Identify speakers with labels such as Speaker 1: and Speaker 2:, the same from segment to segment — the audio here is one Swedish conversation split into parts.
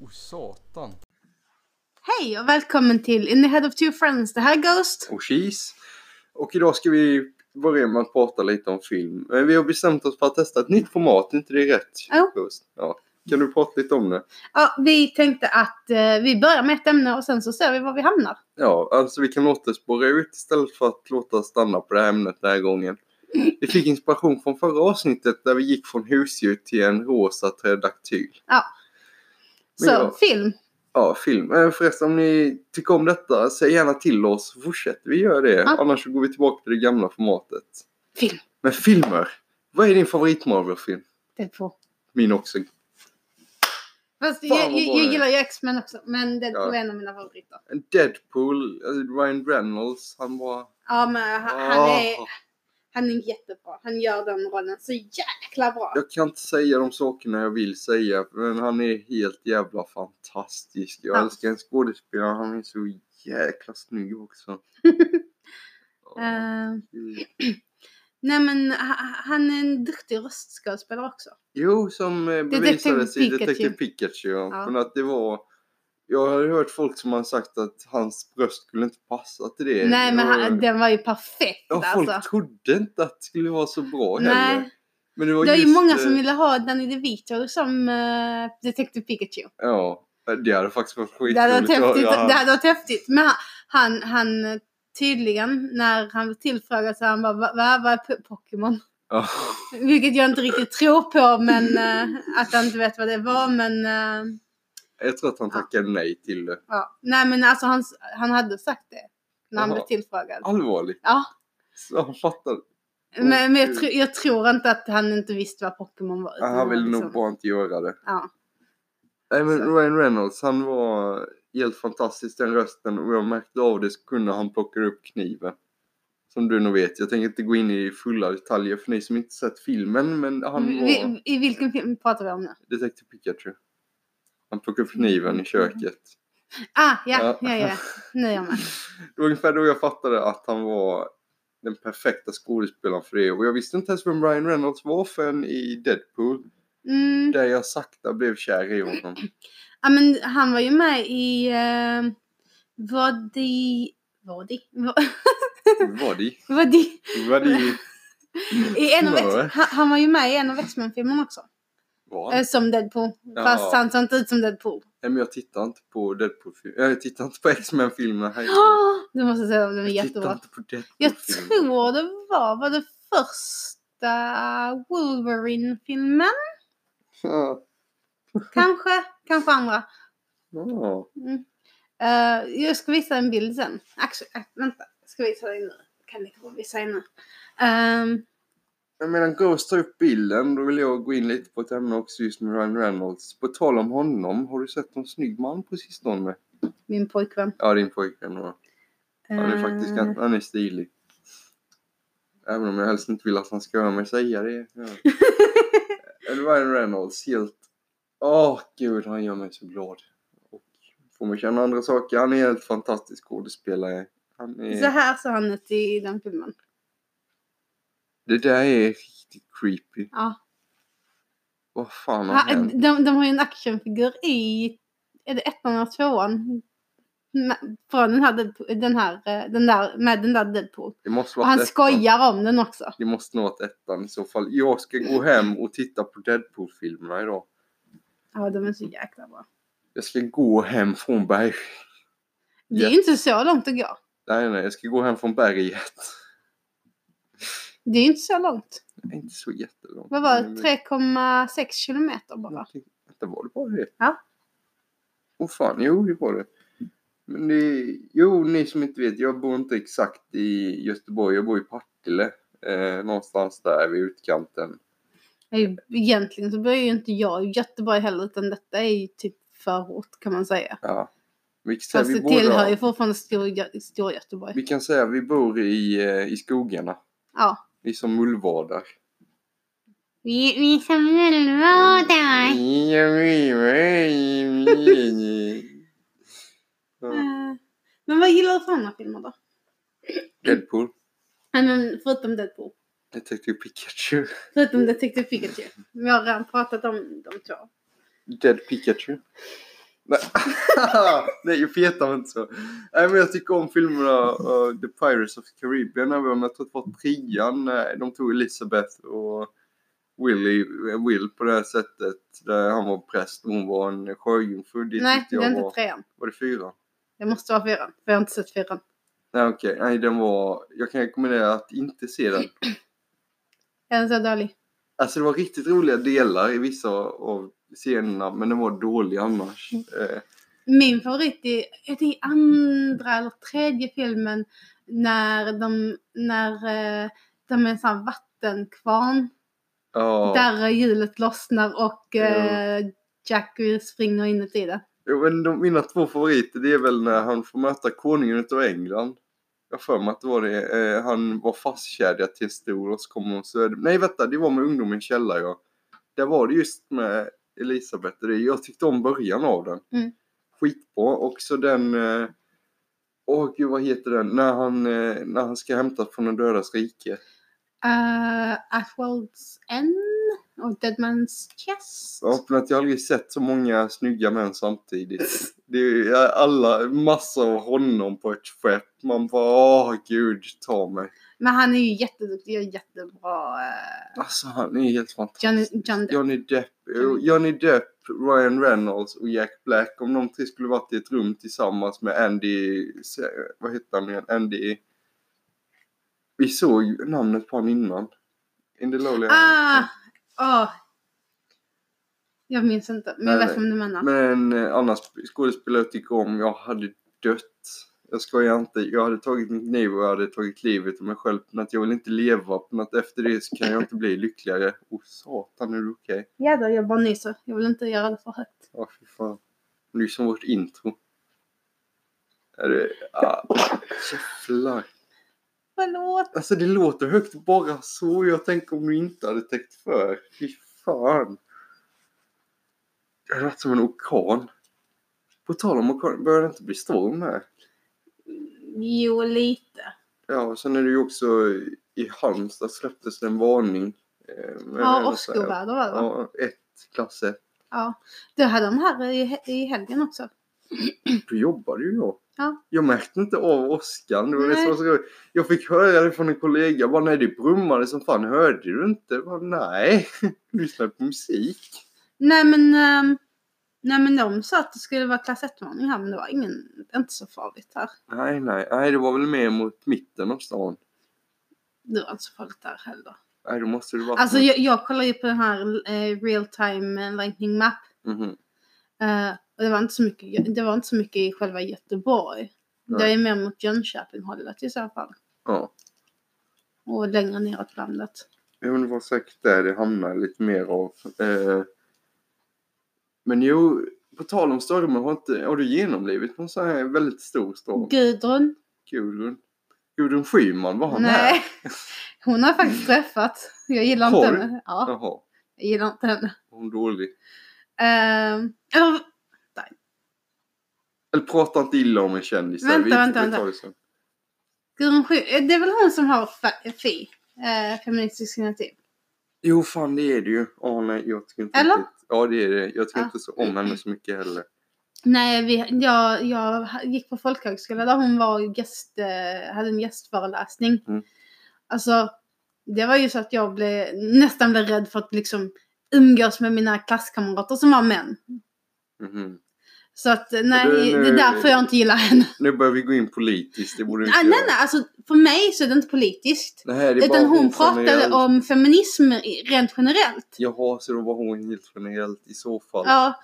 Speaker 1: Oh, satan.
Speaker 2: Hej och välkommen till In the Head of Two Friends, det här är Ghost.
Speaker 3: och cheese. Och idag ska vi börja med att prata lite om film. Men vi har bestämt oss för att testa ett nytt format, inte det är rätt?
Speaker 2: Jo.
Speaker 3: Ghost? Ja. Kan du prata lite om det?
Speaker 2: Ja, vi tänkte att eh, vi börjar med ett ämne och sen så ser vi var vi hamnar.
Speaker 3: Ja, alltså vi kan låta spåra ut istället för att låta stanna på det här ämnet den här gången. Vi fick inspiration från förra avsnittet där vi gick från husdjur till en rosa tredaktyl. Men
Speaker 2: Så,
Speaker 3: ja.
Speaker 2: film.
Speaker 3: Ja, film. Eh, Förresten, om ni tycker om detta, säg gärna till oss. Fortsätter vi göra det,
Speaker 2: Ja.
Speaker 3: annars så går vi tillbaka till det gamla formatet.
Speaker 2: Film.
Speaker 3: Men filmer! Vad är din favorit Marvel-film?
Speaker 2: Det är två.
Speaker 3: Min också.
Speaker 2: Fast
Speaker 3: vad
Speaker 2: jag, jag,
Speaker 3: bra
Speaker 2: jag
Speaker 3: det är.
Speaker 2: gillar ju X-Men också, men det är
Speaker 3: Ja.
Speaker 2: en av mina favoriter.
Speaker 3: Deadpool, alltså Ryan Reynolds, han var...
Speaker 2: Ja, men han, han,
Speaker 3: Ah.
Speaker 2: är, han är jättebra. Han gör den rollen så jäkla bra.
Speaker 3: Jag kan inte säga de sakerna jag vill säga, men han är helt jävla fantastisk. Jag
Speaker 2: Ja.
Speaker 3: älskar en skådespelare, han är så jäkla snygg också. Ja,
Speaker 2: Eh,
Speaker 3: gud.
Speaker 2: nej, men ha- han är en duktig röstskådespelare också.
Speaker 3: Jo, som eh,
Speaker 2: Detective
Speaker 3: bevisades i Detective
Speaker 2: Pikachu.
Speaker 3: Pikachu.
Speaker 2: Ja.
Speaker 3: Ja. Men att det var... Jag har hört folk som har sagt att hans bröst skulle inte passa till det.
Speaker 2: nej, men
Speaker 3: Jag-
Speaker 2: han, den var ju perfekt
Speaker 3: Ja, folk
Speaker 2: alltså.
Speaker 3: trodde inte att det skulle vara så bra heller.
Speaker 2: Nej,
Speaker 3: Men det var
Speaker 2: det är ju
Speaker 3: just,
Speaker 2: många
Speaker 3: eh,
Speaker 2: som ville ha Danny DeVito som eh, Detective Pikachu.
Speaker 3: Ja, Äh, det hade faktiskt varit skitroligt.
Speaker 2: Det hade varit
Speaker 3: att
Speaker 2: häftigt.
Speaker 3: höra.
Speaker 2: Det hade varit häftigt. Men han, han, han tydligen, när han blev tillfrågad så han bara, "Va- vad vad är po- Pokémon?
Speaker 3: Ja.
Speaker 2: Vilket jag inte riktigt tror på, men eh, att han inte vet vad det var. Men, eh,
Speaker 3: Jag tror att han tackade nej till det.
Speaker 2: ja. Nej men alltså han, han hade sagt det när han
Speaker 3: Jaha.
Speaker 2: blev tillfrågad.
Speaker 3: Allvarligt.
Speaker 2: Ja.
Speaker 3: Så han fattar.
Speaker 2: Men, men jag, tr- jag tror inte att han inte visste vad Pokémon var. utan
Speaker 3: Han ville
Speaker 2: liksom-
Speaker 3: nog bara inte göra det.
Speaker 2: Ja.
Speaker 3: Nej men
Speaker 2: Så.
Speaker 3: Ryan Reynolds, han var helt fantastisk den rösten och jag märkte av det kunde han plocka upp kniven. Som du nog vet, jag tänker inte gå in i fulla detaljer för ni som inte sett filmen men han var
Speaker 2: Mm, Vi, I vilken film pratar vi om nu?
Speaker 3: Detective Pikachu. Han plockade upp kniven i
Speaker 2: Mm.
Speaker 3: köket.
Speaker 2: Ah, ja, ja,
Speaker 3: Ja.
Speaker 2: ja. ja. Nu är jag med.
Speaker 3: Det var ungefär då jag fattade att han var den perfekta skådespelaren för det. Och jag visste inte ens vem Ryan Reynolds var förrän i Deadpool.
Speaker 2: Mm.
Speaker 3: Där jag sakta blev kär i honom.
Speaker 2: Ja men han var ju med i uh, Vodi... Vodi? Vo-
Speaker 3: Var det?
Speaker 2: Vodi?
Speaker 3: Var det?
Speaker 2: I en av
Speaker 3: Smör.
Speaker 2: X- han, han var ju med i en av X-Men-filmerna också.
Speaker 3: Var
Speaker 2: eh,
Speaker 3: han?
Speaker 2: som Deadpool. Fast
Speaker 3: Ja.
Speaker 2: han såg inte ut som Deadpool.
Speaker 3: Nej men jag tittar inte på deadpool filmer Jag tittar inte på X-Men-filmerna. Hej.
Speaker 2: Du måste säga om den är
Speaker 3: Jag tittar
Speaker 2: Ah, jättebra.
Speaker 3: inte på deadpool
Speaker 2: Jag tror det var, var det första Wolverine-filmen?
Speaker 3: Ja.
Speaker 2: Kanske, kanske andra.
Speaker 3: Ja.
Speaker 2: Eh, jag ska visa en bild sen. Ax- äh, vänta, jag ska visa dig nu. Kan ni visa dig nu? Ehm,
Speaker 3: Men Medan Ghost tar upp bilden, då vill jag gå in lite på ett ämne också just med Ryan Reynolds. På tal om honom, har du sett någon snygg man på sistone?
Speaker 2: min pojkvän.
Speaker 3: Ja, din pojkvän. Ja. Han är faktiskt
Speaker 2: Eh,
Speaker 3: ganska, han är stilig. Även om jag helst inte vill att han ska höra mig säga det. Ja. Ryan Reynolds, helt... Åh gud, han gör mig så glad. Och får mig känna andra saker. Han är helt fantastisk skådespelare. Han
Speaker 2: Så
Speaker 3: är...
Speaker 2: här ser han ut i den filmen.
Speaker 3: Det där är riktigt creepy.
Speaker 2: Ja.
Speaker 3: Vad fan har
Speaker 2: Ha, eh,
Speaker 3: hänt?
Speaker 2: de, de har ju en actionfigur i, är det ettan eller tvåan? Med- Från den här, Deadpool- den här, eh, den där, med den där Deadpool.
Speaker 3: Det måste
Speaker 2: Och
Speaker 3: vara
Speaker 2: han
Speaker 3: ettan.
Speaker 2: skojar om den också.
Speaker 3: Det måste nog vara ettan i så fall. Jag ska gå hem och titta på Deadpool-filmerna idag.
Speaker 2: Ja, de är så jäkla bra.
Speaker 3: Jag ska gå hem från berg...
Speaker 2: Det är ju
Speaker 3: Jätte-
Speaker 2: inte så långt att gå.
Speaker 3: Nej, nej, jag ska gå hem från berget.
Speaker 2: Det är ju inte så långt.
Speaker 3: Det är Inte så jättelångt.
Speaker 2: Vad var det?
Speaker 3: Men-
Speaker 2: 3,6 kilometer bara.
Speaker 3: någonting. Vänta, var det bara det?
Speaker 2: Ja.
Speaker 3: Åh fan, jo det var det. Men det, jo, ni som inte vet, jag bor inte exakt i Göteborg, jag bor i Partille. Eh, någonstans där vid utkanten.
Speaker 2: Det är ju- Egentligen så bor ju inte jag i Göteborg heller utan detta är ju typ förort kan man säga.
Speaker 3: Ja. Vilket säger
Speaker 2: Fast
Speaker 3: vi,
Speaker 2: det tillhör
Speaker 3: båda,
Speaker 2: ju fortfarande Stor- Storgöteborg.
Speaker 3: vi kan säga att vi bor i, eh, i skogarna.
Speaker 2: Ja.
Speaker 3: Vi är som mullvadar.
Speaker 2: Vi, vi är som mullvadar.
Speaker 3: Ja.
Speaker 2: Eh, Men vad gillar du för andra filmer då?
Speaker 3: Deadpool.
Speaker 2: Nej, men förutom Deadpool.
Speaker 3: Detective Pikachu.
Speaker 2: Förutom Detective Pikachu. Vi har redan pratat om de två.
Speaker 3: Dead Pikachu. Nej, Nej jag petar inte så. Nej, men jag tycker om filmerna eh, The Pirates of the Caribbean, även om jag tror att det var trean. eh, De tog Elizabeth och Willy, eh, Will på det här sättet. Där han var präst och hon var en sjöjungfru. Det
Speaker 2: Nej,
Speaker 3: tyckte
Speaker 2: det
Speaker 3: jag
Speaker 2: är inte
Speaker 3: var...
Speaker 2: trean.
Speaker 3: Var det fyran?
Speaker 2: Det måste vara fyran. För jag har inte sett fyran.
Speaker 3: Nej okej, nej den var... Jag kan rekommendera att inte se den.
Speaker 2: Är den så dålig?
Speaker 3: Alltså det var riktigt roliga delar i vissa av scenerna men den var dålig annars. Eh,
Speaker 2: Min favorit är, är det i andra eller tredje filmen när de, när eh, de är en sån här vattenkvarn.
Speaker 3: Ja.
Speaker 2: Där hjulet lossnar och
Speaker 3: Ja.
Speaker 2: eh, Jack springer inuti det.
Speaker 3: Jo, men de, mina två favoriter det är väl när han får möta konungen utav England. Jag har för mig att det var det. Eh, han var fastkedjad till en stol och så kommer hon söder... Nej vänta, det var med ungdomen i källa ja. Där var det just med Elisabeth och det. Jag tyckte om början av den.
Speaker 2: Mm.
Speaker 3: Skitbra. Och så den... eh, Åh gud vad heter den? När han, eh, när han ska hämtas från den dödas rike.
Speaker 2: Uh, At World's End och Dead Man's Chest.
Speaker 3: Ja, för att jag har aldrig sett så många snygga män samtidigt. Det är alla, massor av honom på ett skepp. Man bara, åh gud, ta mig.
Speaker 2: Men han är ju jätteduktig och jättebra. eh,
Speaker 3: Alltså han är helt
Speaker 2: Johnny,
Speaker 3: fantastisk.
Speaker 2: John Depp.
Speaker 3: Johnny Depp, eh, Johnny Depp, Ryan Reynolds och Jack Black. Om de tre skulle varit i ett rum tillsammans med Andy, se- vad heter han igen? Andy... Vi såg ju namnet på honom innan. In the Lowly
Speaker 2: Ah!
Speaker 3: Island.
Speaker 2: åh. Jag minns inte, men jag
Speaker 3: Nej,
Speaker 2: vet vem du menar.
Speaker 3: Men eh, annars skådespelare jag tycker om, jag hade dött. Jag skojar inte. Jag hade tagit min kniv och jag hade tagit livet av mig själv. Men att jag vill inte leva. Men att efter det så kan jag inte bli lyckligare. Åh satan, är du okej?
Speaker 2: Jädrar, jag bara nyser. Jag vill inte göra det för högt.
Speaker 3: Ja, fy fan. Det är som vårt intro. Är det... Ah, jävlar.
Speaker 2: Förlåt!
Speaker 3: Alltså det låter högt bara så. Jag tänker om du inte hade täckt för. Fy fan. Det hade varit som en orkan. På tal om orkan, börjar det inte bli storm här?
Speaker 2: Jo, lite.
Speaker 3: Ja, och sen är det ju också i Halmstad släpptes det en varning. eh, med-
Speaker 2: Ja, åskoväder var det va?
Speaker 3: Ja, ett, klass ett.
Speaker 2: Ja. Du hade de här i, i helgen också.
Speaker 3: Då jobbade ju jag.
Speaker 2: Ja.
Speaker 3: Jag märkte inte av åskan. Det var det som
Speaker 2: Nej.
Speaker 3: var så roligt. Jag fick höra det från en kollega. Jag bara, nej det brummade som fan. Hörde du inte? Jag bara, nej. Lyssnade på musik.
Speaker 2: Nej men, ehm, nej men de sa att det skulle vara klass 1-varning här men det var ingen, inte så farligt här.
Speaker 3: Nej, nej, nej, det var väl mer mot mitten av stan.
Speaker 2: Det var inte så farligt där heller.
Speaker 3: Nej, då måste det vara...
Speaker 2: Alltså jag, jag kollade ju på den här eh, real time eh, lightning map.
Speaker 3: Mhm.
Speaker 2: Eh, och det var, inte så mycket, det var inte så mycket i själva Göteborg. Det
Speaker 3: Nej.
Speaker 2: är mer mot Jönköping-hållet i så fall.
Speaker 3: Ja.
Speaker 2: Och längre neråt landet.
Speaker 3: Jo, det var säkert där det hamnade lite mer av. Eh, men jo, på tal om stormar, har, inte, har du genomlivit någon sån här väldigt stor storm?
Speaker 2: Gudrun?
Speaker 3: Gudrun? Gudrun Schyman, var han här?
Speaker 2: Nej. Hon har faktiskt träffat. Jag gillar inte
Speaker 3: Har du?
Speaker 2: henne. Ja,
Speaker 3: Jaha,
Speaker 2: jag gillar inte henne.
Speaker 3: var hon dålig?
Speaker 2: Ehm, eller,
Speaker 3: Eller prata inte illa om en kändis.
Speaker 2: Vänta,
Speaker 3: vi, vi
Speaker 2: vänta, vänta.
Speaker 3: tar det sen.
Speaker 2: Gudrun Schy- det är väl hon som har fa- FI? Eh, feministisk initiativ.
Speaker 3: Jo, fan det är det ju. Åh nej, jag tycker inte
Speaker 2: Eller?
Speaker 3: riktigt- Ja, det är det. Jag tycker
Speaker 2: Ja.
Speaker 3: inte så om henne så mycket heller.
Speaker 2: Nej, vi, jag, jag gick på folkhögskola där hon var gäst, eh, hade en gästföreläsning.
Speaker 3: Mm.
Speaker 2: Alltså, det var ju så att jag blev, nästan blev rädd för att liksom umgås med mina klasskamrater som var män.
Speaker 3: Mhm.
Speaker 2: Så att eh, nej,
Speaker 3: Det-
Speaker 2: det är därför jag inte gillar henne.
Speaker 3: Nu börjar vi gå in politiskt, det borde vi
Speaker 2: Ah,
Speaker 3: inte
Speaker 2: nej, nej, alltså för mig så är det inte politiskt.
Speaker 3: Det här är bara
Speaker 2: Utan hon
Speaker 3: som är
Speaker 2: pratade
Speaker 3: allt.
Speaker 2: om feminism i- rent generellt.
Speaker 3: Jaha, så då var hon helt generellt i så fall.
Speaker 2: Ja.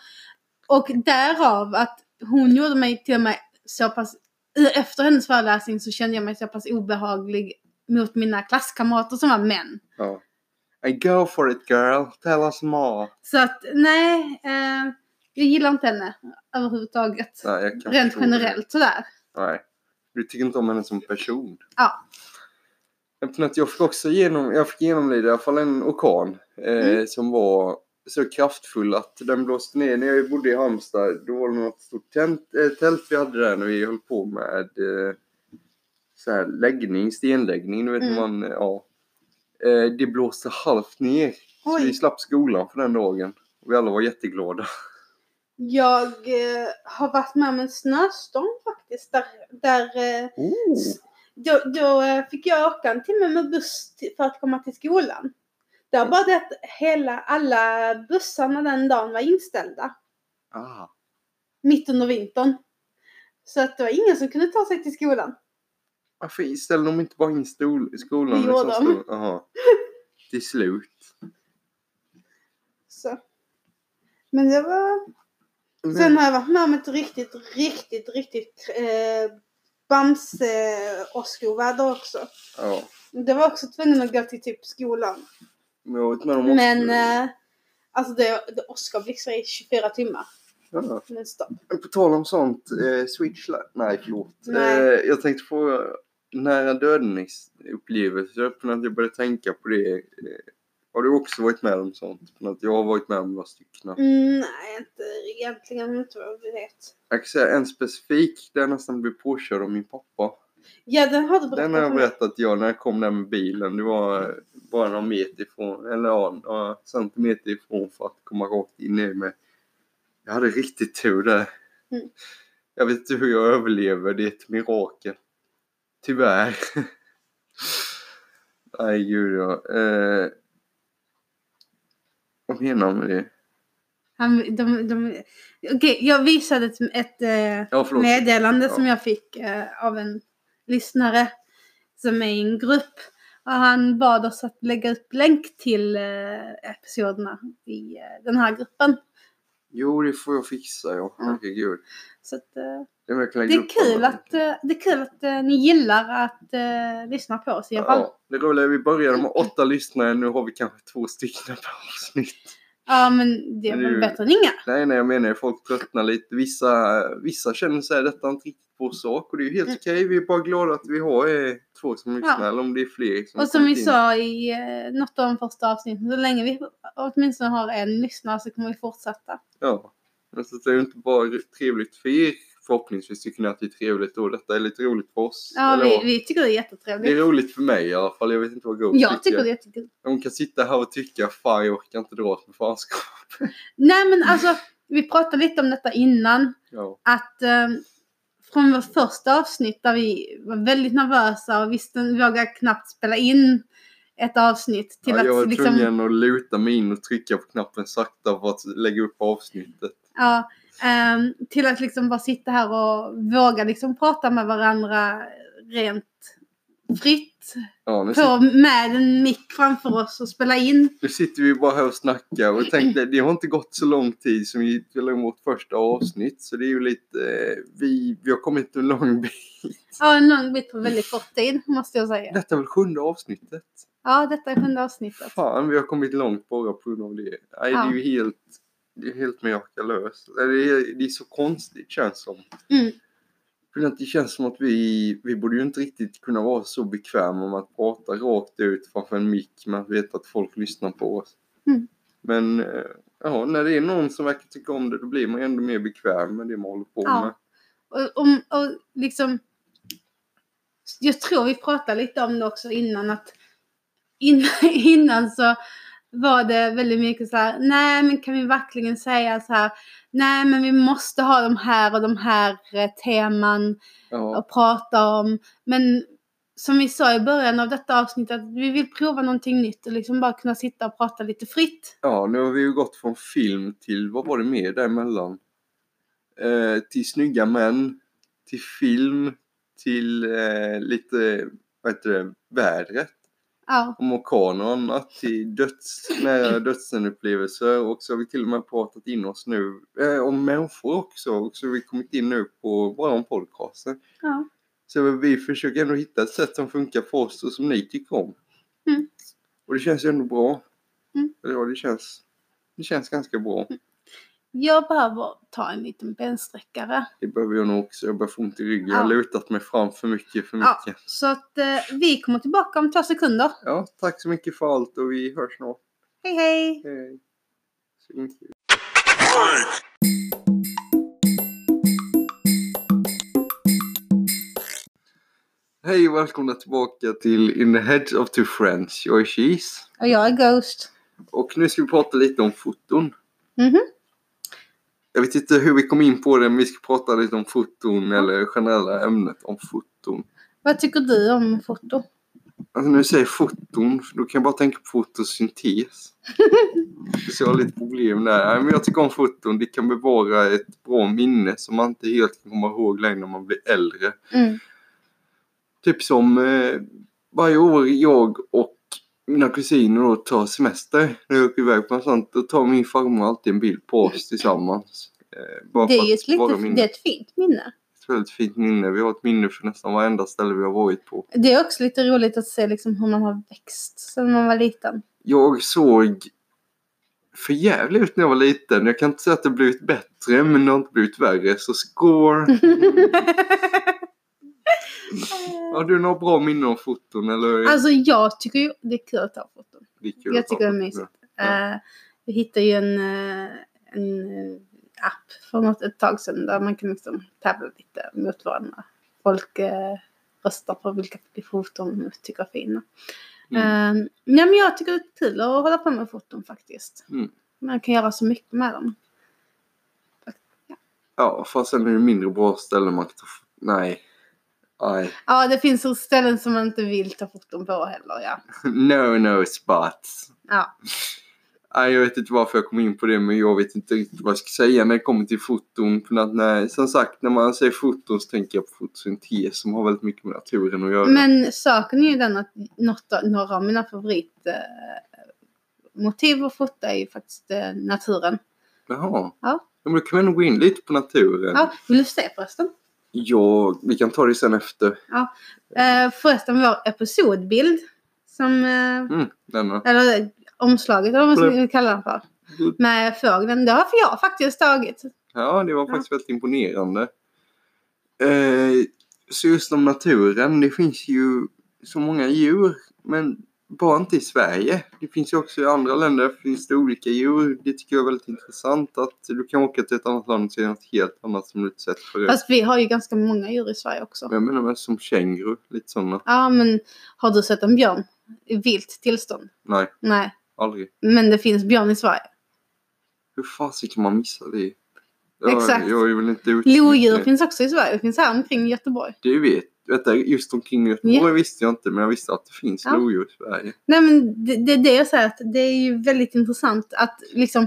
Speaker 2: Och därav att hon gjorde mig till och med så pass... Efter hennes föreläsning så kände jag mig så pass obehaglig mot mina klasskamrater som var män.
Speaker 3: Ja. And go for it girl, tell us more.
Speaker 2: Så att nej, eh, jag gillar inte henne överhuvudtaget.
Speaker 3: Nej, jag kan
Speaker 2: Rent
Speaker 3: förstå det.
Speaker 2: generellt sådär.
Speaker 3: Nej. Du tycker inte om henne som person.
Speaker 2: Ja.
Speaker 3: Men att Jag fick också genom, jag fick genomlida i alla fall en orkan eh,
Speaker 2: Mm.
Speaker 3: som var så kraftfull att den blåste ner. När jag bodde i Halmstad då var det något stort tält, eh, tält vi hade där när vi höll på med eh, så här läggning, stenläggning. Du vet när
Speaker 2: Mm.
Speaker 3: man, eh, ja. Eh, det blåste halvt ner. Så vi
Speaker 2: Oj,
Speaker 3: slapp skolan för den dagen. Och vi alla var jätteglada.
Speaker 2: Jag eh, har varit med om en snöstorm faktiskt. Där, där eh,
Speaker 3: Oh.
Speaker 2: då, då eh, fick jag åka en timme med buss till, för att komma till skolan. Det var bara det att hela, alla bussarna den dagen var inställda.
Speaker 3: Ah.
Speaker 2: Mitt under vintern. Så att det var ingen som kunde ta sig till skolan.
Speaker 3: Varför ställde de inte bara in stol i skolan?
Speaker 2: Det
Speaker 3: med
Speaker 2: gjorde
Speaker 3: sån
Speaker 2: de.
Speaker 3: stor- Jaha. Till slut.
Speaker 2: Så. Men det var...
Speaker 3: Mm.
Speaker 2: Sen har jag varit med om ett riktigt, riktigt, riktigt eh, Bamse-åskoväder också.
Speaker 3: Ja.
Speaker 2: Det var också tvungen att gå till typ skolan.
Speaker 3: Men jag vet inte om de också-
Speaker 2: Men eh, alltså det, det åskblixtrar i 24 timmar.
Speaker 3: Ja.
Speaker 2: Nästan.
Speaker 3: Men På tal om sånt, eh, Switch Li- Nej, förlåt.
Speaker 2: Nej.
Speaker 3: Eh, jag tänkte fråga, nära döden-upplevelser, för att jag började tänka på det. Eh, har du också varit med om sånt? För att jag har varit med om några stycken.
Speaker 2: Mm, nej, inte egentligen. men Inte vad vi vet.
Speaker 3: Jag kan säga en specifik, där jag nästan blev påkörd av min pappa.
Speaker 2: Ja, den har du berättat
Speaker 3: Den har jag
Speaker 2: för mig.
Speaker 3: berättat jag när jag kom där med bilen. Det var eh, bara någon meter ifrån, eller ja, några centimeter ifrån för att komma rakt in i mig. Jag hade riktigt tur där.
Speaker 2: Mm.
Speaker 3: Jag vet inte hur jag överlever, det är ett mirakel. Tyvärr. Nej gud ja. Eh, vad menar man med det?
Speaker 2: Han, de, de, okej, jag visade ett, ett eh,
Speaker 3: Ja förlåt.
Speaker 2: meddelande
Speaker 3: Ja.
Speaker 2: som jag fick eh, av en lyssnare som är i en grupp. Och han bad oss att lägga upp länk till eh, episoderna i eh, den här gruppen.
Speaker 3: Jo det får jag fixa ja.
Speaker 2: Ja.
Speaker 3: Herregud.
Speaker 2: Så att, eh,
Speaker 3: Det, är verkligen
Speaker 2: Mm. det, är
Speaker 3: gruppen.
Speaker 2: kul att, eh, det är kul att eh, ni gillar att eh, lyssna på oss i alla fall. Ja,
Speaker 3: Ja, det roliga är att vi började med åtta lyssnare, nu har vi kanske två stycken per avsnitt.
Speaker 2: men det är
Speaker 3: Men det är
Speaker 2: väl
Speaker 3: ju-
Speaker 2: bättre än inga.
Speaker 3: Nej, nej, jag menar folk tröttnar lite. Vissa, vissa känner sig detta är inte riktigt vår sak och det är ju helt
Speaker 2: Mm.
Speaker 3: okej. Vi är bara glada att vi har eh, två som lyssnar, eller om det är fler. Som
Speaker 2: Och som
Speaker 3: kommit
Speaker 2: vi
Speaker 3: in.
Speaker 2: sa i eh, något av de första avsnitten, så länge vi åtminstone har en lyssnare så kommer vi fortsätta.
Speaker 3: Ja. Men så det är ju inte bara trevligt för er, förhoppningsvis tycker ni att det är trevligt och detta är lite roligt för oss.
Speaker 2: Ja,
Speaker 3: eller
Speaker 2: vi,
Speaker 3: vad?
Speaker 2: vi tycker det är
Speaker 3: Det är
Speaker 2: jättetrevligt.
Speaker 3: roligt för mig i alla fall, jag vet inte vad Go
Speaker 2: Jag tycker det är jättekul.
Speaker 3: De kan sitta här och tycka, fan jag orkar inte dra åt mig fanskap.
Speaker 2: Nej men alltså, vi pratade lite om detta innan.
Speaker 3: Ja.
Speaker 2: Att eh, från vårt första avsnitt där vi var väldigt nervösa och visste, vågade knappt spela in ett avsnitt. Till
Speaker 3: ja, jag var
Speaker 2: att liksom,
Speaker 3: tvungen att luta mig in och trycka på knappen sakta för att lägga upp avsnittet.
Speaker 2: ja, ehm, till att liksom bara sitta här och våga liksom prata med varandra rent fritt.
Speaker 3: Ja, nu, sit,
Speaker 2: På, med en mick framför oss och spela in.
Speaker 3: nu sitter vi bara här och snackar och tänkte det har inte gått så lång tid som vi spelade in vårt första avsnitt så det är ju lite, eh, vi, vi har kommit en lång bit.
Speaker 2: Ja, en lång bit på väldigt kort tid måste jag säga.
Speaker 3: Detta är väl sjunde avsnittet?
Speaker 2: Ja, detta är sjunde avsnittet.
Speaker 3: Fan, vi har kommit långt bara på grund av det. Nej,
Speaker 2: Ja.
Speaker 3: det är ju helt, det är helt mirakulöst. Eller Det är, det är så konstigt känns som.
Speaker 2: Mm.
Speaker 3: För att det känns som att vi, vi borde ju inte riktigt kunna vara så bekväma med att prata rakt ut framför en mick men att veta att folk lyssnar på oss.
Speaker 2: Mm.
Speaker 3: Men eh, ja, när det är någon som verkar tycka om det då blir man ju ändå mer bekväm med det man håller på
Speaker 2: Ja.
Speaker 3: med.
Speaker 2: Och, om- och liksom, jag tror vi pratade lite om det också innan att innan, innan så var det väldigt mycket så här, nej men kan vi verkligen säga så här, nej men vi måste ha de här och de här eh, teman
Speaker 3: Ja,
Speaker 2: att prata om. Men som vi sa i början av detta avsnitt att vi vill prova någonting nytt och liksom bara kunna sitta och prata lite fritt.
Speaker 3: ja, nu har vi ju gått från film till, vad var det mer däremellan? Eh, till snygga män, till film, till eh, lite, vad heter det, vädret.
Speaker 2: Ja,
Speaker 3: om orkaner och annat till döds, nära dödsenupplevelser och så har vi till och med pratat in oss nu eh, om människor också och så har vi kommit in nu på bara om podcasten.
Speaker 2: ja.
Speaker 3: Så vi försöker ändå hitta ett sätt som funkar för oss och som ni tycker om.
Speaker 2: Mm.
Speaker 3: Och det känns ju ändå bra.
Speaker 2: Mm.
Speaker 3: Ja, det känns, det känns ganska bra.
Speaker 2: Jag behöver ta en liten bensträckare.
Speaker 3: Det behöver jag nog också. Jag börjar få ont i ryggen. Jag
Speaker 2: Ja.
Speaker 3: har lutat mig fram för mycket, för
Speaker 2: Ja.
Speaker 3: mycket.
Speaker 2: Så att eh, vi kommer tillbaka om två sekunder.
Speaker 3: Ja, tack så mycket för allt och vi hörs snart.
Speaker 2: Hej hej!
Speaker 3: Hej. Så mycket. Hej och välkomna tillbaka till In the Heads of Two Friends. Jag är Cheese.
Speaker 2: Och jag är Ghost.
Speaker 3: Och nu ska vi prata lite om foton.
Speaker 2: Mhm.
Speaker 3: Jag vet inte hur vi kom in på det, men vi ska prata lite om foton eller generella ämnet om foton.
Speaker 2: Vad tycker du om foto?
Speaker 3: Alltså när du säger foton, då kan jag bara tänka på fotosyntes. Så jag har lite problem där. Nej, men jag tycker om foton, det kan bevara ett bra minne som man inte helt kan komma ihåg längre när man blir äldre.
Speaker 2: Mm.
Speaker 3: Typ som eh, varje år jag och mina kusiner då tar semester när vi åker iväg på något sånt, då tar min farmor alltid en bild på oss tillsammans. Eh, bara
Speaker 2: Det
Speaker 3: för
Speaker 2: är ju
Speaker 3: att
Speaker 2: ett,
Speaker 3: bevara
Speaker 2: lite,
Speaker 3: minnet.
Speaker 2: det är ett fint minne.
Speaker 3: ett väldigt fint minne. Vi har ett minne för nästan varenda ställe vi har varit på.
Speaker 2: Det är också lite roligt att se liksom hur man har växt sedan man var liten.
Speaker 3: Jag såg för jävligt ut när jag var liten. Jag kan inte säga att det har blivit bättre, men det har inte blivit värre. Så score! Har du några bra minnen om foton eller?
Speaker 2: Alltså jag tycker ju det är kul att ta foton.
Speaker 3: det är kul
Speaker 2: Jag
Speaker 3: att ta
Speaker 2: tycker det är
Speaker 3: foton.
Speaker 2: mysigt.
Speaker 3: Ja.
Speaker 2: Eh, vi hittade ju en, eh, en eh, app för något, ett tag sedan där man kan liksom tävla lite mot varandra. Folk eh, röstar på vilka foton de tycker är fina. Mm. nej men jag tycker det är kul att hålla på med foton faktiskt.
Speaker 3: Mm.
Speaker 2: Man kan göra så mycket med dem.
Speaker 3: Ja, fast sen är det mindre bra ställen man kan ta f- Nej. Nej.
Speaker 2: Ja det finns så ställen som man inte vill ta foton på heller ja.
Speaker 3: No, no spots.
Speaker 2: Ja,
Speaker 3: Nej, jag vet inte varför jag kom in på det, men jag vet inte riktigt vad jag ska säga när det kommer till foton. För att när, som sagt, när man säger foton så tänker jag på fotosyntes som har väldigt mycket med naturen att göra.
Speaker 2: men saken är ju den att något, av- några av mina favorit eh, motiv att fota är ju faktiskt eh, naturen.
Speaker 3: Jaha.
Speaker 2: Ja.
Speaker 3: Men då kan vi nog gå in lite på naturen.
Speaker 2: Ja, vill du se förresten?
Speaker 3: Ja, vi kan ta det sen efter.
Speaker 2: Eh, förresten vår episodbild som, eh,
Speaker 3: Mm, denna.
Speaker 2: eller omslaget eller vad man ska kalla den för. Med fågeln, det har jag faktiskt tagit.
Speaker 3: Ja, det var faktiskt väldigt imponerande. Eh, så just om naturen, det finns ju så många djur, men bara inte i Sverige. Det finns ju också i andra länder, finns det olika djur. Det tycker jag är väldigt intressant att du kan åka till ett annat land och se något helt annat som du inte sett förut.
Speaker 2: Fast vi har ju ganska många djur i Sverige också.
Speaker 3: Men Jag menar med som känguru, lite sådana.
Speaker 2: Ja, men har du sett en björn i vilt tillstånd?
Speaker 3: Nej,
Speaker 2: Nej,
Speaker 3: aldrig.
Speaker 2: men det finns björn i Sverige.
Speaker 3: Hur fasen kan man missa det? Jag,
Speaker 2: Exakt.
Speaker 3: Jag är väl inte ute.
Speaker 2: Lodjur finns också i Sverige. Det finns här omkring Göteborg.
Speaker 3: Det vet Detta just omkring Göteborg
Speaker 2: Ja.
Speaker 3: visste jag inte, men jag visste att det finns
Speaker 2: Ja.
Speaker 3: lodjur i Sverige.
Speaker 2: Nej, men det, det är det jag säger. Att det är ju väldigt intressant att liksom,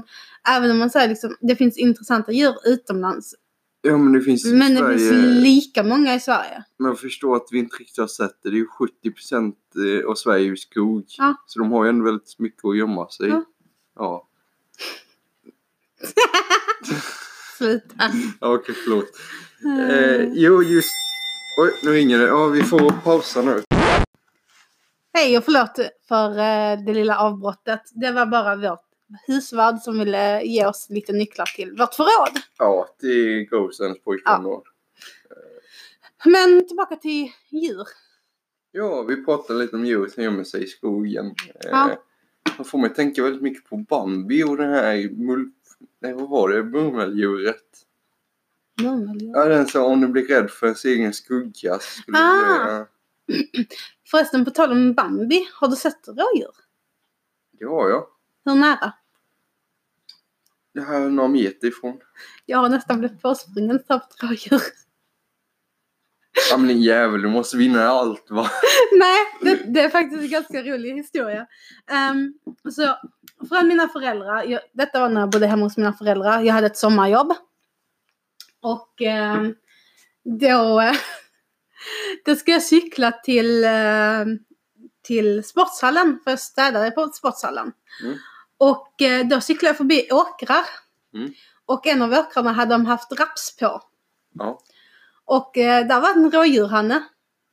Speaker 2: även om man säger liksom, det finns intressanta djur utomlands,
Speaker 3: Ja, men det finns i
Speaker 2: men det
Speaker 3: Sverige.
Speaker 2: finns lika många i Sverige.
Speaker 3: Men jag förstår att vi inte riktigt har sett det. Det är ju 70 procent eh, av Sverige är ju skog.
Speaker 2: Ja.
Speaker 3: Så de har ju ändå väldigt mycket att gömma sig i.
Speaker 2: Ja.
Speaker 3: Ja.
Speaker 2: Sluta.
Speaker 3: Ja, Okej, förlåt.
Speaker 2: Mm.
Speaker 3: Eh, jo, just... Oj, nu ringer det. Ja, vi får pausa nu.
Speaker 2: Hej och förlåt för eh, det lilla avbrottet. Det var bara vårt husvärd som ville ge oss lite nycklar till vårt förråd.
Speaker 3: Ja, det är Ghostens pojkvän då.
Speaker 2: Men tillbaka till djur.
Speaker 3: Ja, vi pratade lite om djur som gömmer sig i skogen.
Speaker 2: Ja.
Speaker 3: Eh, det får mig tänka väldigt mycket på Bambi och det här mul... Nej, vad var det? Murmeldjuret.
Speaker 2: Murmeldjur.
Speaker 3: Ja, den sa om du blir rädd för ens egen skugga så skulle du...
Speaker 2: Ah.
Speaker 3: göra-
Speaker 2: Förresten, på tal om Bambi, har du sett rådjur?
Speaker 3: Ja, ja.
Speaker 2: Hur nära?
Speaker 3: Det här är några meter ifrån.
Speaker 2: Jag har nästan blivit påsprungen av ett rådjur.
Speaker 3: Ja men din jävel, du måste vinna allt va?
Speaker 2: Nej, det, det är faktiskt en ganska rolig historia. Ehm, så från mina föräldrar, jag, detta var när jag bodde hemma hos mina föräldrar, jag hade ett sommarjobb. Och ehm, då, eh, då ska jag cykla till, ehm, till sportshallen, för jag städade på sportshallen.
Speaker 3: Mm.
Speaker 2: Och eh, då cyklade jag förbi åkrar.
Speaker 3: Mm.
Speaker 2: Och en av åkrarna hade de haft raps på.
Speaker 3: Ja.
Speaker 2: Och eh, där var en rådjurhanne.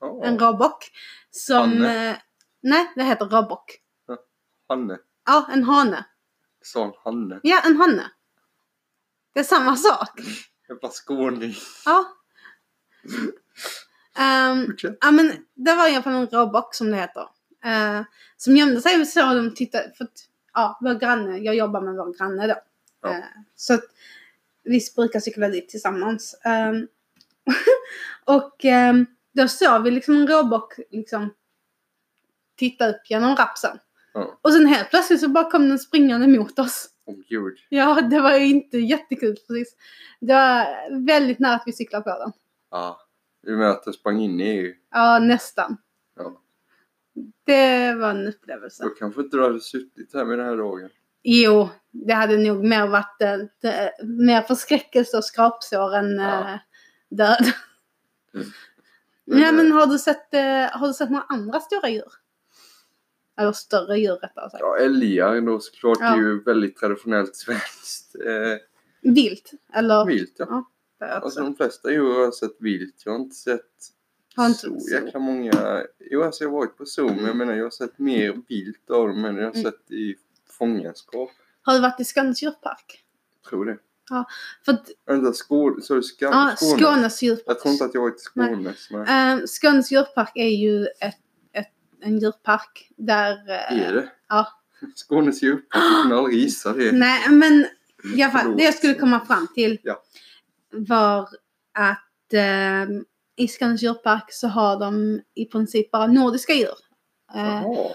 Speaker 3: Ja.
Speaker 2: En råbock. Som...
Speaker 3: Hanne.
Speaker 2: Eh, nej, det heter råbock.
Speaker 3: Hanne.
Speaker 2: Ja, en hane.
Speaker 3: Sa han Hanne?
Speaker 2: Ja, en hanne. Det är samma sak.
Speaker 3: Jag bara skåning.
Speaker 2: Ja. Ehm,
Speaker 3: Fortsätt.
Speaker 2: ja, men det var i alla fall en råbock som det heter. Eh, som gömde sig så de tittade. För att, ja, vår granne, jag jobbar med vår granne då.
Speaker 3: Ja.
Speaker 2: Eh, så att vi brukar cykla dit tillsammans. Ehm, och ehm, då såg vi liksom en råbock liksom titta upp genom rapsen.
Speaker 3: Ja.
Speaker 2: Och sen helt plötsligt så bara kom den springande mot oss.
Speaker 3: Om gud.
Speaker 2: Ja, det var ju inte jättekul precis. Det var väldigt nära att vi cyklade på den.
Speaker 3: Ja. Du menar att det sprang in i E EU?
Speaker 2: Ja, nästan.
Speaker 3: Ja.
Speaker 2: Det var en upplevelse.
Speaker 3: Då kanske inte du hade suttit här med den här dagen.
Speaker 2: Jo, det hade nog mer varit eh, det- mer förskräckelse och skrapsår än
Speaker 3: Ja. Mm.
Speaker 2: eh, död. Nej men har du, sett, eh, har du sett några andra stora djur? Eller större djur rättare sagt.
Speaker 3: Ja, älgar då såklart. Det är
Speaker 2: Ja.
Speaker 3: ju väldigt traditionellt svenskt. Eh,
Speaker 2: Vilt? Eller?
Speaker 3: vilt ja.
Speaker 2: Jag
Speaker 3: Alltså
Speaker 2: också.
Speaker 3: de flesta djur har jag sett vilt. Jag har inte sett
Speaker 2: Har inte
Speaker 3: så
Speaker 2: sett så.
Speaker 3: jäkla många. Jo, alltså jag har varit på zoo, men jag menar jag har sett mer vilt av dem än jag har
Speaker 2: Mm.
Speaker 3: sett i fångenskap.
Speaker 2: Har du varit i Skånes djurpark?
Speaker 3: Tror det.
Speaker 2: För att,
Speaker 3: Vänta, Skåne? Så är det Skåne?
Speaker 2: ja,
Speaker 3: Skåne.
Speaker 2: Skånes djurpark.
Speaker 3: Jag tror inte att jag har varit i Skåne. Men...
Speaker 2: Eh, Skånes djurpark är ju ett, ett, en djurpark där... eh,
Speaker 3: Är det?
Speaker 2: ja.
Speaker 3: Skånes djurpark, jag kunde aldrig gissa det.
Speaker 2: Nej, men i alla fall,
Speaker 3: Förlåt.
Speaker 2: det jag skulle komma fram till
Speaker 3: Ja.
Speaker 2: var att eh, i Skånes djurpark så har de i princip bara nordiska djur. Eh,
Speaker 3: Jaha.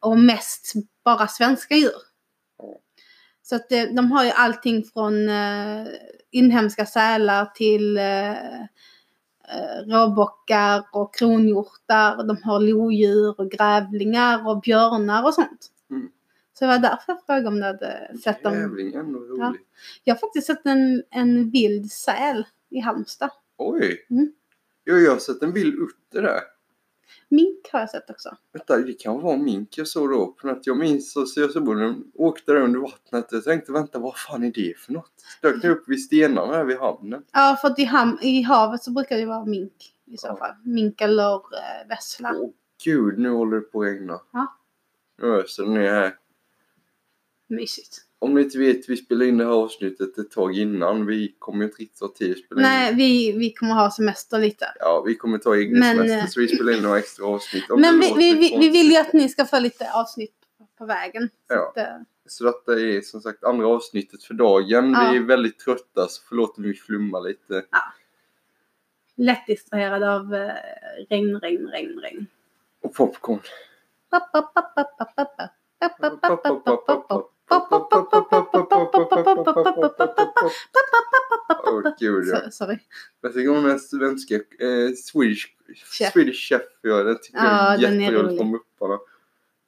Speaker 2: och mest bara svenska djur.
Speaker 3: Ja.
Speaker 2: Så att eh, de har ju allting från eh, inhemska sälar till eh, eh, råbockar och kronhjortar. De har lodjur och grävlingar och björnar och sånt.
Speaker 3: Mm.
Speaker 2: Så det var därför jag frågade om du hade sett dem.
Speaker 3: Jävling, ändå roligt.
Speaker 2: Ja. Jag har faktiskt sett en, en vild säl i Halmstad.
Speaker 3: Oj!
Speaker 2: Mm.
Speaker 3: Jo, jag har sett en bild uppe där.
Speaker 2: Mink har jag sett också.
Speaker 3: Vänta, det kan vara mink jag såg då. För att jag minns så Söderboden åkte där under vattnet. Jag tänkte, vänta, vad fan är det för något? Dök det upp vid stenarna här vid hamnen?
Speaker 2: Ja, för att i, ham- i havet så brukar det vara mink i så
Speaker 3: Ja.
Speaker 2: fall. Mink eller eh, vessla.
Speaker 3: Åh gud, nu håller det på att regna.
Speaker 2: Ja.
Speaker 3: Nu öser det ner här.
Speaker 2: Mysigt.
Speaker 3: Om ni inte vet, vi spelade in det här avsnittet ett tag innan. Vi kommer ju inte riktigt ha tid att spela in.
Speaker 2: Nej, vi, vi kommer ha semester lite.
Speaker 3: Ja, vi kommer ta egen
Speaker 2: Men,
Speaker 3: semester
Speaker 2: eh,
Speaker 3: så vi spelar in några extra avsnitt. Om
Speaker 2: Men
Speaker 3: det
Speaker 2: vi,
Speaker 3: låter
Speaker 2: vi, vi, vi vill ju
Speaker 3: konstigt.
Speaker 2: att ni ska få lite avsnitt på vägen. Så
Speaker 3: Ja.
Speaker 2: att, eh,
Speaker 3: Så detta är som sagt andra avsnittet för dagen.
Speaker 2: Ja.
Speaker 3: Vi är väldigt trötta så förlåt om vi flummar lite.
Speaker 2: lätt distraherad av eh, regn, regn, regn, regn.
Speaker 3: Och popcorn. Åh gud ja.
Speaker 2: Så- Sorry.
Speaker 3: Jag tycker om den svenska eh, Swedish
Speaker 2: Chef.
Speaker 3: Swedish Chef. Ja, den tycker
Speaker 2: Ja,
Speaker 3: jag är
Speaker 2: den är
Speaker 3: jätterolig
Speaker 2: rolig.
Speaker 3: från Mupparna.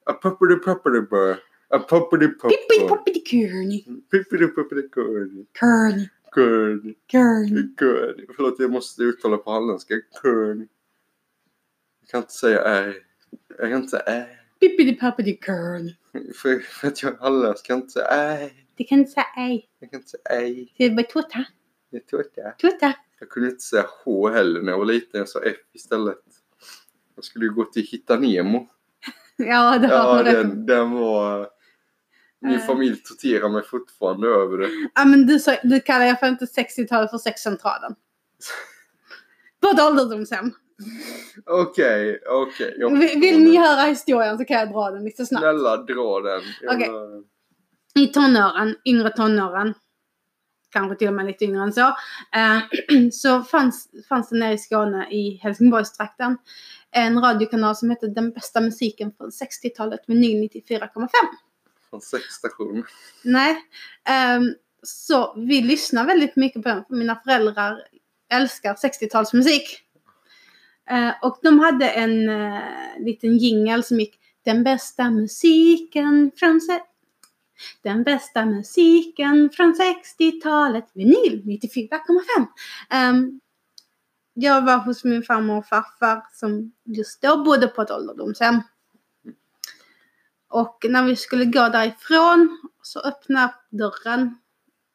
Speaker 3: A puppity puppity bur. A puppity
Speaker 2: Pippi
Speaker 3: popcorn.
Speaker 2: poppidi kurni,
Speaker 3: Pippity puppity curd.
Speaker 2: kurni,
Speaker 3: Curd.
Speaker 2: kurni.
Speaker 3: Curd. Förlåt jag måste uttala på halländska. Curd. Jag kan inte säga är. Jag kan inte säga är.
Speaker 2: Pippidi poppidi kurni.
Speaker 3: För, för att jag är halländsk kan jag inte säga är.
Speaker 2: Du kan inte säga ej.
Speaker 3: Jag kan inte säga är.
Speaker 2: Det är bara tuta,
Speaker 3: Jag tror att det är.
Speaker 2: tuta.
Speaker 3: Jag kunde inte säga H heller när jag var liten. Jag sa F istället. Jag skulle ju gå till Hitta Nemo.
Speaker 2: Ja, det
Speaker 3: Ja,
Speaker 2: har du rätt.
Speaker 3: den, den var... Min
Speaker 2: Eh.
Speaker 3: familj torterar mig fortfarande över det.
Speaker 2: Ja men du, sa- du kallar jag för inte 60-talet för sexcentralen. På ett ålderdomshem.
Speaker 3: Okej, okej. jag
Speaker 2: Vill,
Speaker 3: förstår
Speaker 2: vill
Speaker 3: nu.
Speaker 2: ni höra historien så kan jag dra den lite snabbt.
Speaker 3: Snälla dra den. Jag
Speaker 2: Okej.
Speaker 3: vill-
Speaker 2: I tonåren, yngre tonåren, kanske till och med lite yngre än så, eh, så fanns, fanns det nere i Skåne i Helsingborgstrakten en radiokanal som hette Den bästa musiken från 60-talet med 94,5.
Speaker 3: Från sexstation.
Speaker 2: Nej. ehm, så vi lyssnar väldigt mycket på den. för Mina föräldrar älskar 60-talsmusik. Eh, och de hade en eh, liten jingel som gick Den bästa musiken från se- den bästa musiken från 60-talet, vinyl 94,5. Ehm, jag var hos min farmor och farfar som just då bodde på ett ålderdomshem. Och när vi skulle gå därifrån så öppnade dörren.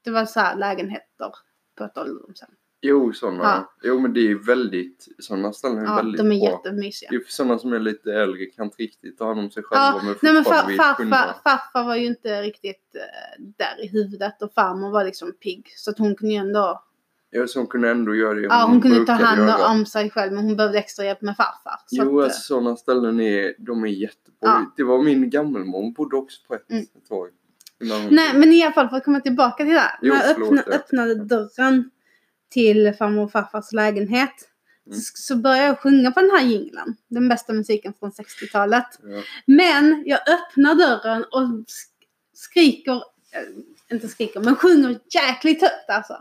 Speaker 2: Det var så här lägenheter på ett ålderdomshem.
Speaker 3: Jo, sådana.
Speaker 2: Ja.
Speaker 3: Jo, men det är väldigt... Sådana ställen är
Speaker 2: Ja,
Speaker 3: väldigt
Speaker 2: de är
Speaker 3: bra.
Speaker 2: jättemysiga.
Speaker 3: Det är för sådana som är lite äldre kan inte riktigt ta hand om sig själva.
Speaker 2: Ja,
Speaker 3: men
Speaker 2: Nej men
Speaker 3: fortfarande
Speaker 2: far,
Speaker 3: vill
Speaker 2: farfar,
Speaker 3: kunna.
Speaker 2: farfar var ju inte riktigt eh, där i huvudet och farmor var liksom pigg. Så att hon kunde ju ändå,
Speaker 3: Ja, så hon kunde ändå göra det
Speaker 2: ja hon kunde ta
Speaker 3: brukade
Speaker 2: hand
Speaker 3: göra.
Speaker 2: om sig själv men hon behövde extra hjälp med farfar. Så
Speaker 3: Jo,
Speaker 2: att, eh,
Speaker 3: alltså sådana ställen är, de är jättebra.
Speaker 2: Ja.
Speaker 3: Det var min gammelmor, hon bodde också på ett
Speaker 2: Mm.
Speaker 3: ett tag. Innan hon-
Speaker 2: Nej men i alla fall för att komma tillbaka till det här.
Speaker 3: Jo,
Speaker 2: När jag
Speaker 3: förlåt,
Speaker 2: öppna,
Speaker 3: ja.
Speaker 2: öppnade dörren till farmor och farfars lägenhet
Speaker 3: Mm.
Speaker 2: så, så började jag sjunga på den här jingeln. Den bästa musiken från 60-talet.
Speaker 3: Ja.
Speaker 2: Men jag öppnar dörren och sk- skriker eh, inte skriker, men sjunger jäkligt högt alltså.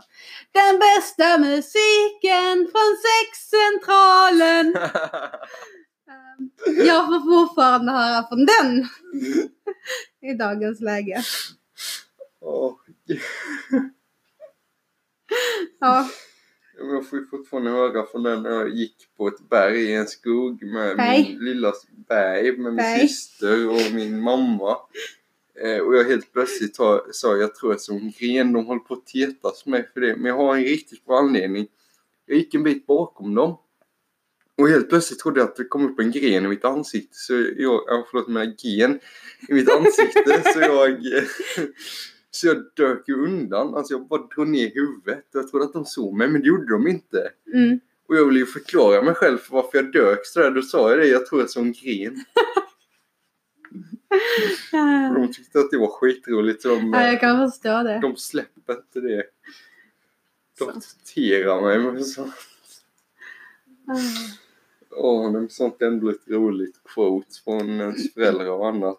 Speaker 2: Den bästa musiken från sexcentralen. Ehm, Jag får fortfarande höra från den i dagens läge.
Speaker 3: Åh, gud.
Speaker 2: Ja,
Speaker 3: Ja, men Jag får ju fortfarande höra från den när jag gick på ett berg i en skog med
Speaker 2: Berg.
Speaker 3: min lilla berg med min
Speaker 2: Berg.
Speaker 3: syster och min mamma. Eh, och jag helt plötsligt har- sa jag tror att som gren, de håller på att tetas med för det. Men jag har en riktigt bra anledning. Jag gick en bit bakom dem. Och helt plötsligt trodde jag att det kom upp en gren i mitt ansikte. Så jag, ja, förlåt, mina gen i mitt ansikte. så jag... Så jag dök ju undan, alltså jag bara drog ner huvudet. Jag trodde att de såg mig, men det gjorde de inte.
Speaker 2: mm.
Speaker 3: Och jag ville ju förklara mig själv för varför jag dök sådär. Då sa jag det, jag tror jag såg en gren. Och
Speaker 2: Eh,
Speaker 3: de tyckte att det var skitroligt. Så de, eh,
Speaker 2: ja, jag kan förstå det.
Speaker 3: de släpper inte det.
Speaker 2: Så.
Speaker 3: De torterar mig med sånt.
Speaker 2: Eh.
Speaker 3: Åh, men sånt är ändå lite roligt. Quotes från ens föräldrar och annat.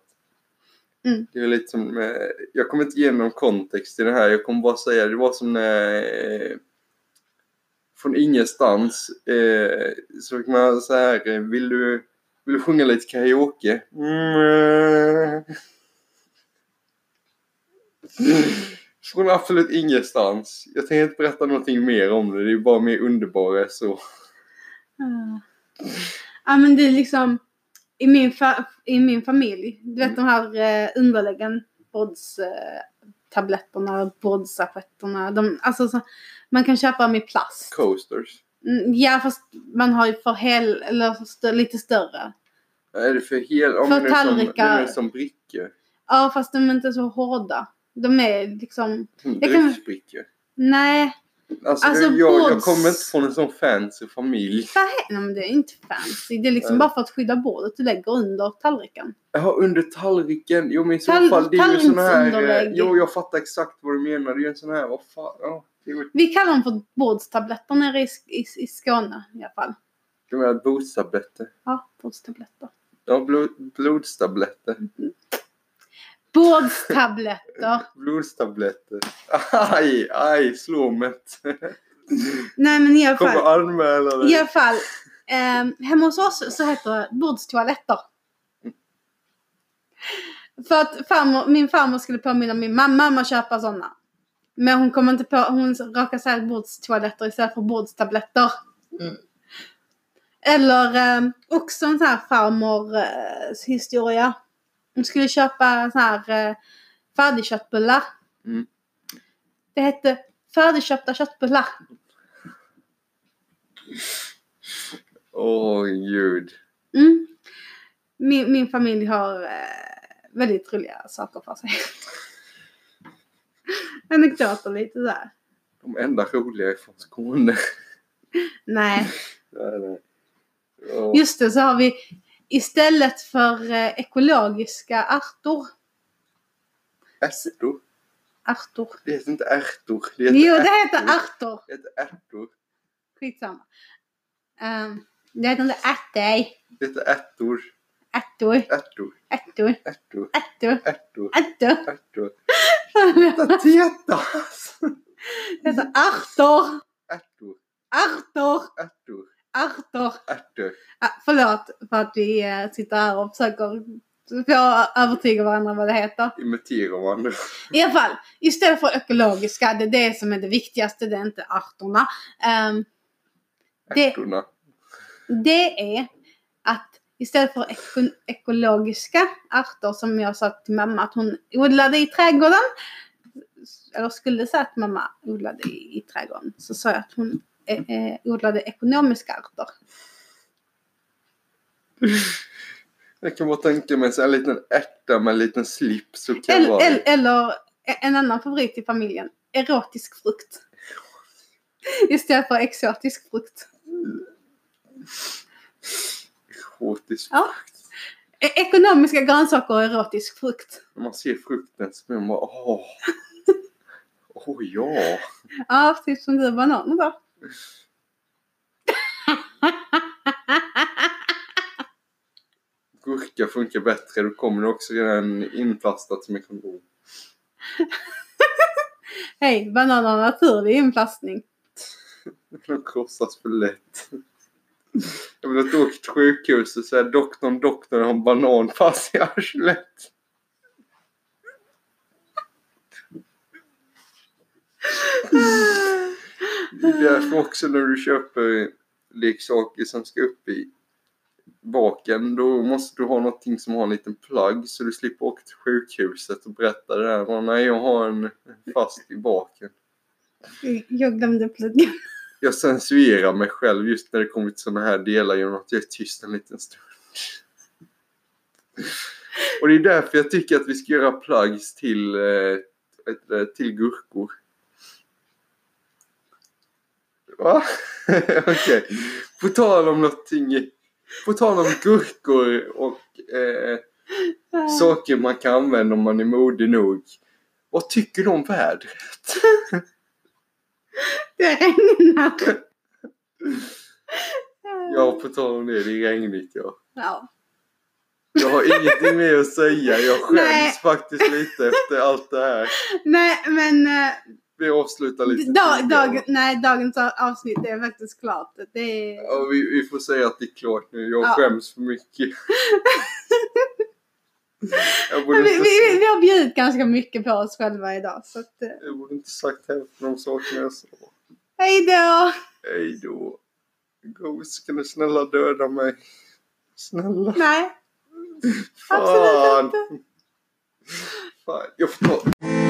Speaker 2: Mm.
Speaker 3: Det är lite som, eh, jag kommer inte ge någon kontext till det här. Jag kommer bara säga, det var som när eh, från ingenstans eh, så fick man så här, eh, vill du, vill du sjunga lite karaoke? Mm. Från absolut ingenstans. Jag tänker inte berätta någonting mer om det. Det är bara mer underbara så.
Speaker 2: Ja. Ja men det är liksom i min, fa- i min familj, du vet de här eh, underläggen, Brods eh, tabletterna, Brodsafetterna, de, alltså så, man kan köpa dem i plast.
Speaker 3: Coasters.
Speaker 2: Mm, ja fast man har ju för hel, eller så stö- lite större.
Speaker 3: Är det för hel... Om det
Speaker 2: För
Speaker 3: är som-
Speaker 2: tallrikar.
Speaker 3: det är som brickor.
Speaker 2: Ja fast de är inte så hårda. De är liksom,
Speaker 3: Som
Speaker 2: Jag kan-
Speaker 3: drycksbrickor.
Speaker 2: nej,
Speaker 3: Alltså,
Speaker 2: Alltså,
Speaker 3: det- jag, jag
Speaker 2: boards.
Speaker 3: kommer inte från en sån fancy familj.
Speaker 2: så här- nej men det är inte fancy. Det är liksom
Speaker 3: Nej.
Speaker 2: bara för att skydda bordet du lägger under tallriken.
Speaker 3: Jaha, under tallriken. Jo, men i så
Speaker 2: Tall-
Speaker 3: fall. Det är ju sån här... eh,
Speaker 2: tallriksunderlägg.
Speaker 3: Jo, jag fattar exakt vad du menar. Det är ju en sån här... Vad fan... Ja, det är ju-
Speaker 2: Vi kallar dem för bordstabletter nere i, Sk- i, i Skåne i alla fall.
Speaker 3: de här blodstabletter.
Speaker 2: Ja, bordstabletter.
Speaker 3: Ja, blod, blodstabletter.
Speaker 2: Bordstabletter.
Speaker 3: Blodstabletter. Aj, aj, slå mig inte.
Speaker 2: Nej men i alla fall.
Speaker 3: Kommer anmäla
Speaker 2: I
Speaker 3: dig.
Speaker 2: alla fall. ehm, hemma hos oss så heter det bordstoaletter. För att farmor, min farmor skulle påminna min mamma om att köpa sådana. Men hon kom inte på, hon råkade säga bordstoaletter istället för bordstabletter.
Speaker 3: Mm.
Speaker 2: Eller ehm, också en sån här farmor eh, historia. Hon skulle köpa sån här eh, färdigköttbullar.
Speaker 3: Mm.
Speaker 2: Det hette färdigköpta köttbullar.
Speaker 3: Åh, gud.
Speaker 2: Mm. Min, min familj har eh, väldigt roliga saker för sig. Anekdoter lite där.
Speaker 3: De enda roliga är från Skåne.
Speaker 2: Nej,
Speaker 3: Nej, nej. Ja.
Speaker 2: just det så har vi istället för eh, ekologiska ärtor.
Speaker 3: Ärtor.
Speaker 2: Ärtor.
Speaker 3: Det heter inte ärtor. Det heter
Speaker 2: Jo, det heter ärtor.
Speaker 3: Det heter ärtor.
Speaker 2: Skitsamma. Um, det heter inte ärtor.
Speaker 3: Det heter ärtor.
Speaker 2: Ärtor.
Speaker 3: Ärtor.
Speaker 2: Ärtor.
Speaker 3: Ärtor.
Speaker 2: Ärtor.
Speaker 3: Ärtor.
Speaker 2: Ärtor.
Speaker 3: Ärtor.
Speaker 2: Det
Speaker 3: Titta, titta!
Speaker 2: heter ärtor.
Speaker 3: Ärtor.
Speaker 2: Ärtor.
Speaker 3: Ärtor.
Speaker 2: Ärtor.
Speaker 3: Ärtor.
Speaker 2: Ah, förlåt för att vi eh, sitter här och försöker få övertyga varandra vad det heter.
Speaker 3: Imiterar varandra.
Speaker 2: I alla fall, istället för ekologiska, det är det som är det viktigaste, det är inte arterna. Ehm, Det-
Speaker 3: Ärtorna.
Speaker 2: det är att istället för eko- ekologiska arter som jag sa till mamma att hon odlade i trädgården, eller skulle säga att mamma odlade i, i trädgården, så sa jag att hon eh, eh, odlade ekonomiska arter.
Speaker 3: Jag kan bara tänka mig en sån här liten ärta med en liten slips och
Speaker 2: Eller, eller,
Speaker 3: kavaj.
Speaker 2: eller en annan favorit i familjen, erotisk frukt. Istället för exotisk frukt.
Speaker 3: Erotisk.
Speaker 2: Ja. E- Ekonomiska grönsaker och erotisk frukt.
Speaker 3: Man ser frukten så blir man bara åh. Åh ja.
Speaker 2: Ja, precis som du och bananer då.
Speaker 3: Gurka funkar bättre. Då kommer det också redan inplastat som en kondom.
Speaker 2: Hej, banan har naturlig inplastning.
Speaker 3: De krossas för lätt. Jag vill inte åka till sjukhus och säga doktorn, doktorn har en banan fast i arslet. Det är därför också när du köper leksaker som ska upp i baken, då måste du ha någonting som har en liten plagg så du slipper åka till sjukhuset och berätta det där. Nej, jag har en fast i baken.
Speaker 2: Jag glömde plugga.
Speaker 3: Jag censurerar mig själv just när det kommer till sådana här delar genom att jag är tyst en liten stund. Och det är därför jag tycker att vi ska göra plugs till, eh, ett, eh, till gurkor. Va? Okej. På tal om någonting. På tal om gurkor och eh, saker man kan använda om man är modig nog. Vad tycker du om vädret?
Speaker 2: Det regnar.
Speaker 3: Ja, på tal om det. Det är regnigt ja.
Speaker 2: Ja.
Speaker 3: Jag har ingenting mer att säga. Jag skäms
Speaker 2: Nej.
Speaker 3: faktiskt lite efter allt det här.
Speaker 2: Nej, men eh,
Speaker 3: Vi avslutar lite
Speaker 2: dag,
Speaker 3: tidigare.
Speaker 2: dag, nej, dagens avsnitt är faktiskt klart. Det är...
Speaker 3: Ja, vi, vi får säga att det är klart nu. Jag
Speaker 2: Ja.
Speaker 3: skäms för mycket. jag,
Speaker 2: Vi,
Speaker 3: borde
Speaker 2: vi,
Speaker 3: inte,
Speaker 2: vi, vi har bjudit ganska mycket på oss själva idag. Så att, eh,
Speaker 3: jag borde inte sagt hälften av de sakerna jag sa.
Speaker 2: hej då!
Speaker 3: Hej då. Ghost, kan du snälla döda mig? Snälla.
Speaker 2: Nej.
Speaker 3: Fan.
Speaker 2: Absolut
Speaker 3: Fan. Jag får ta...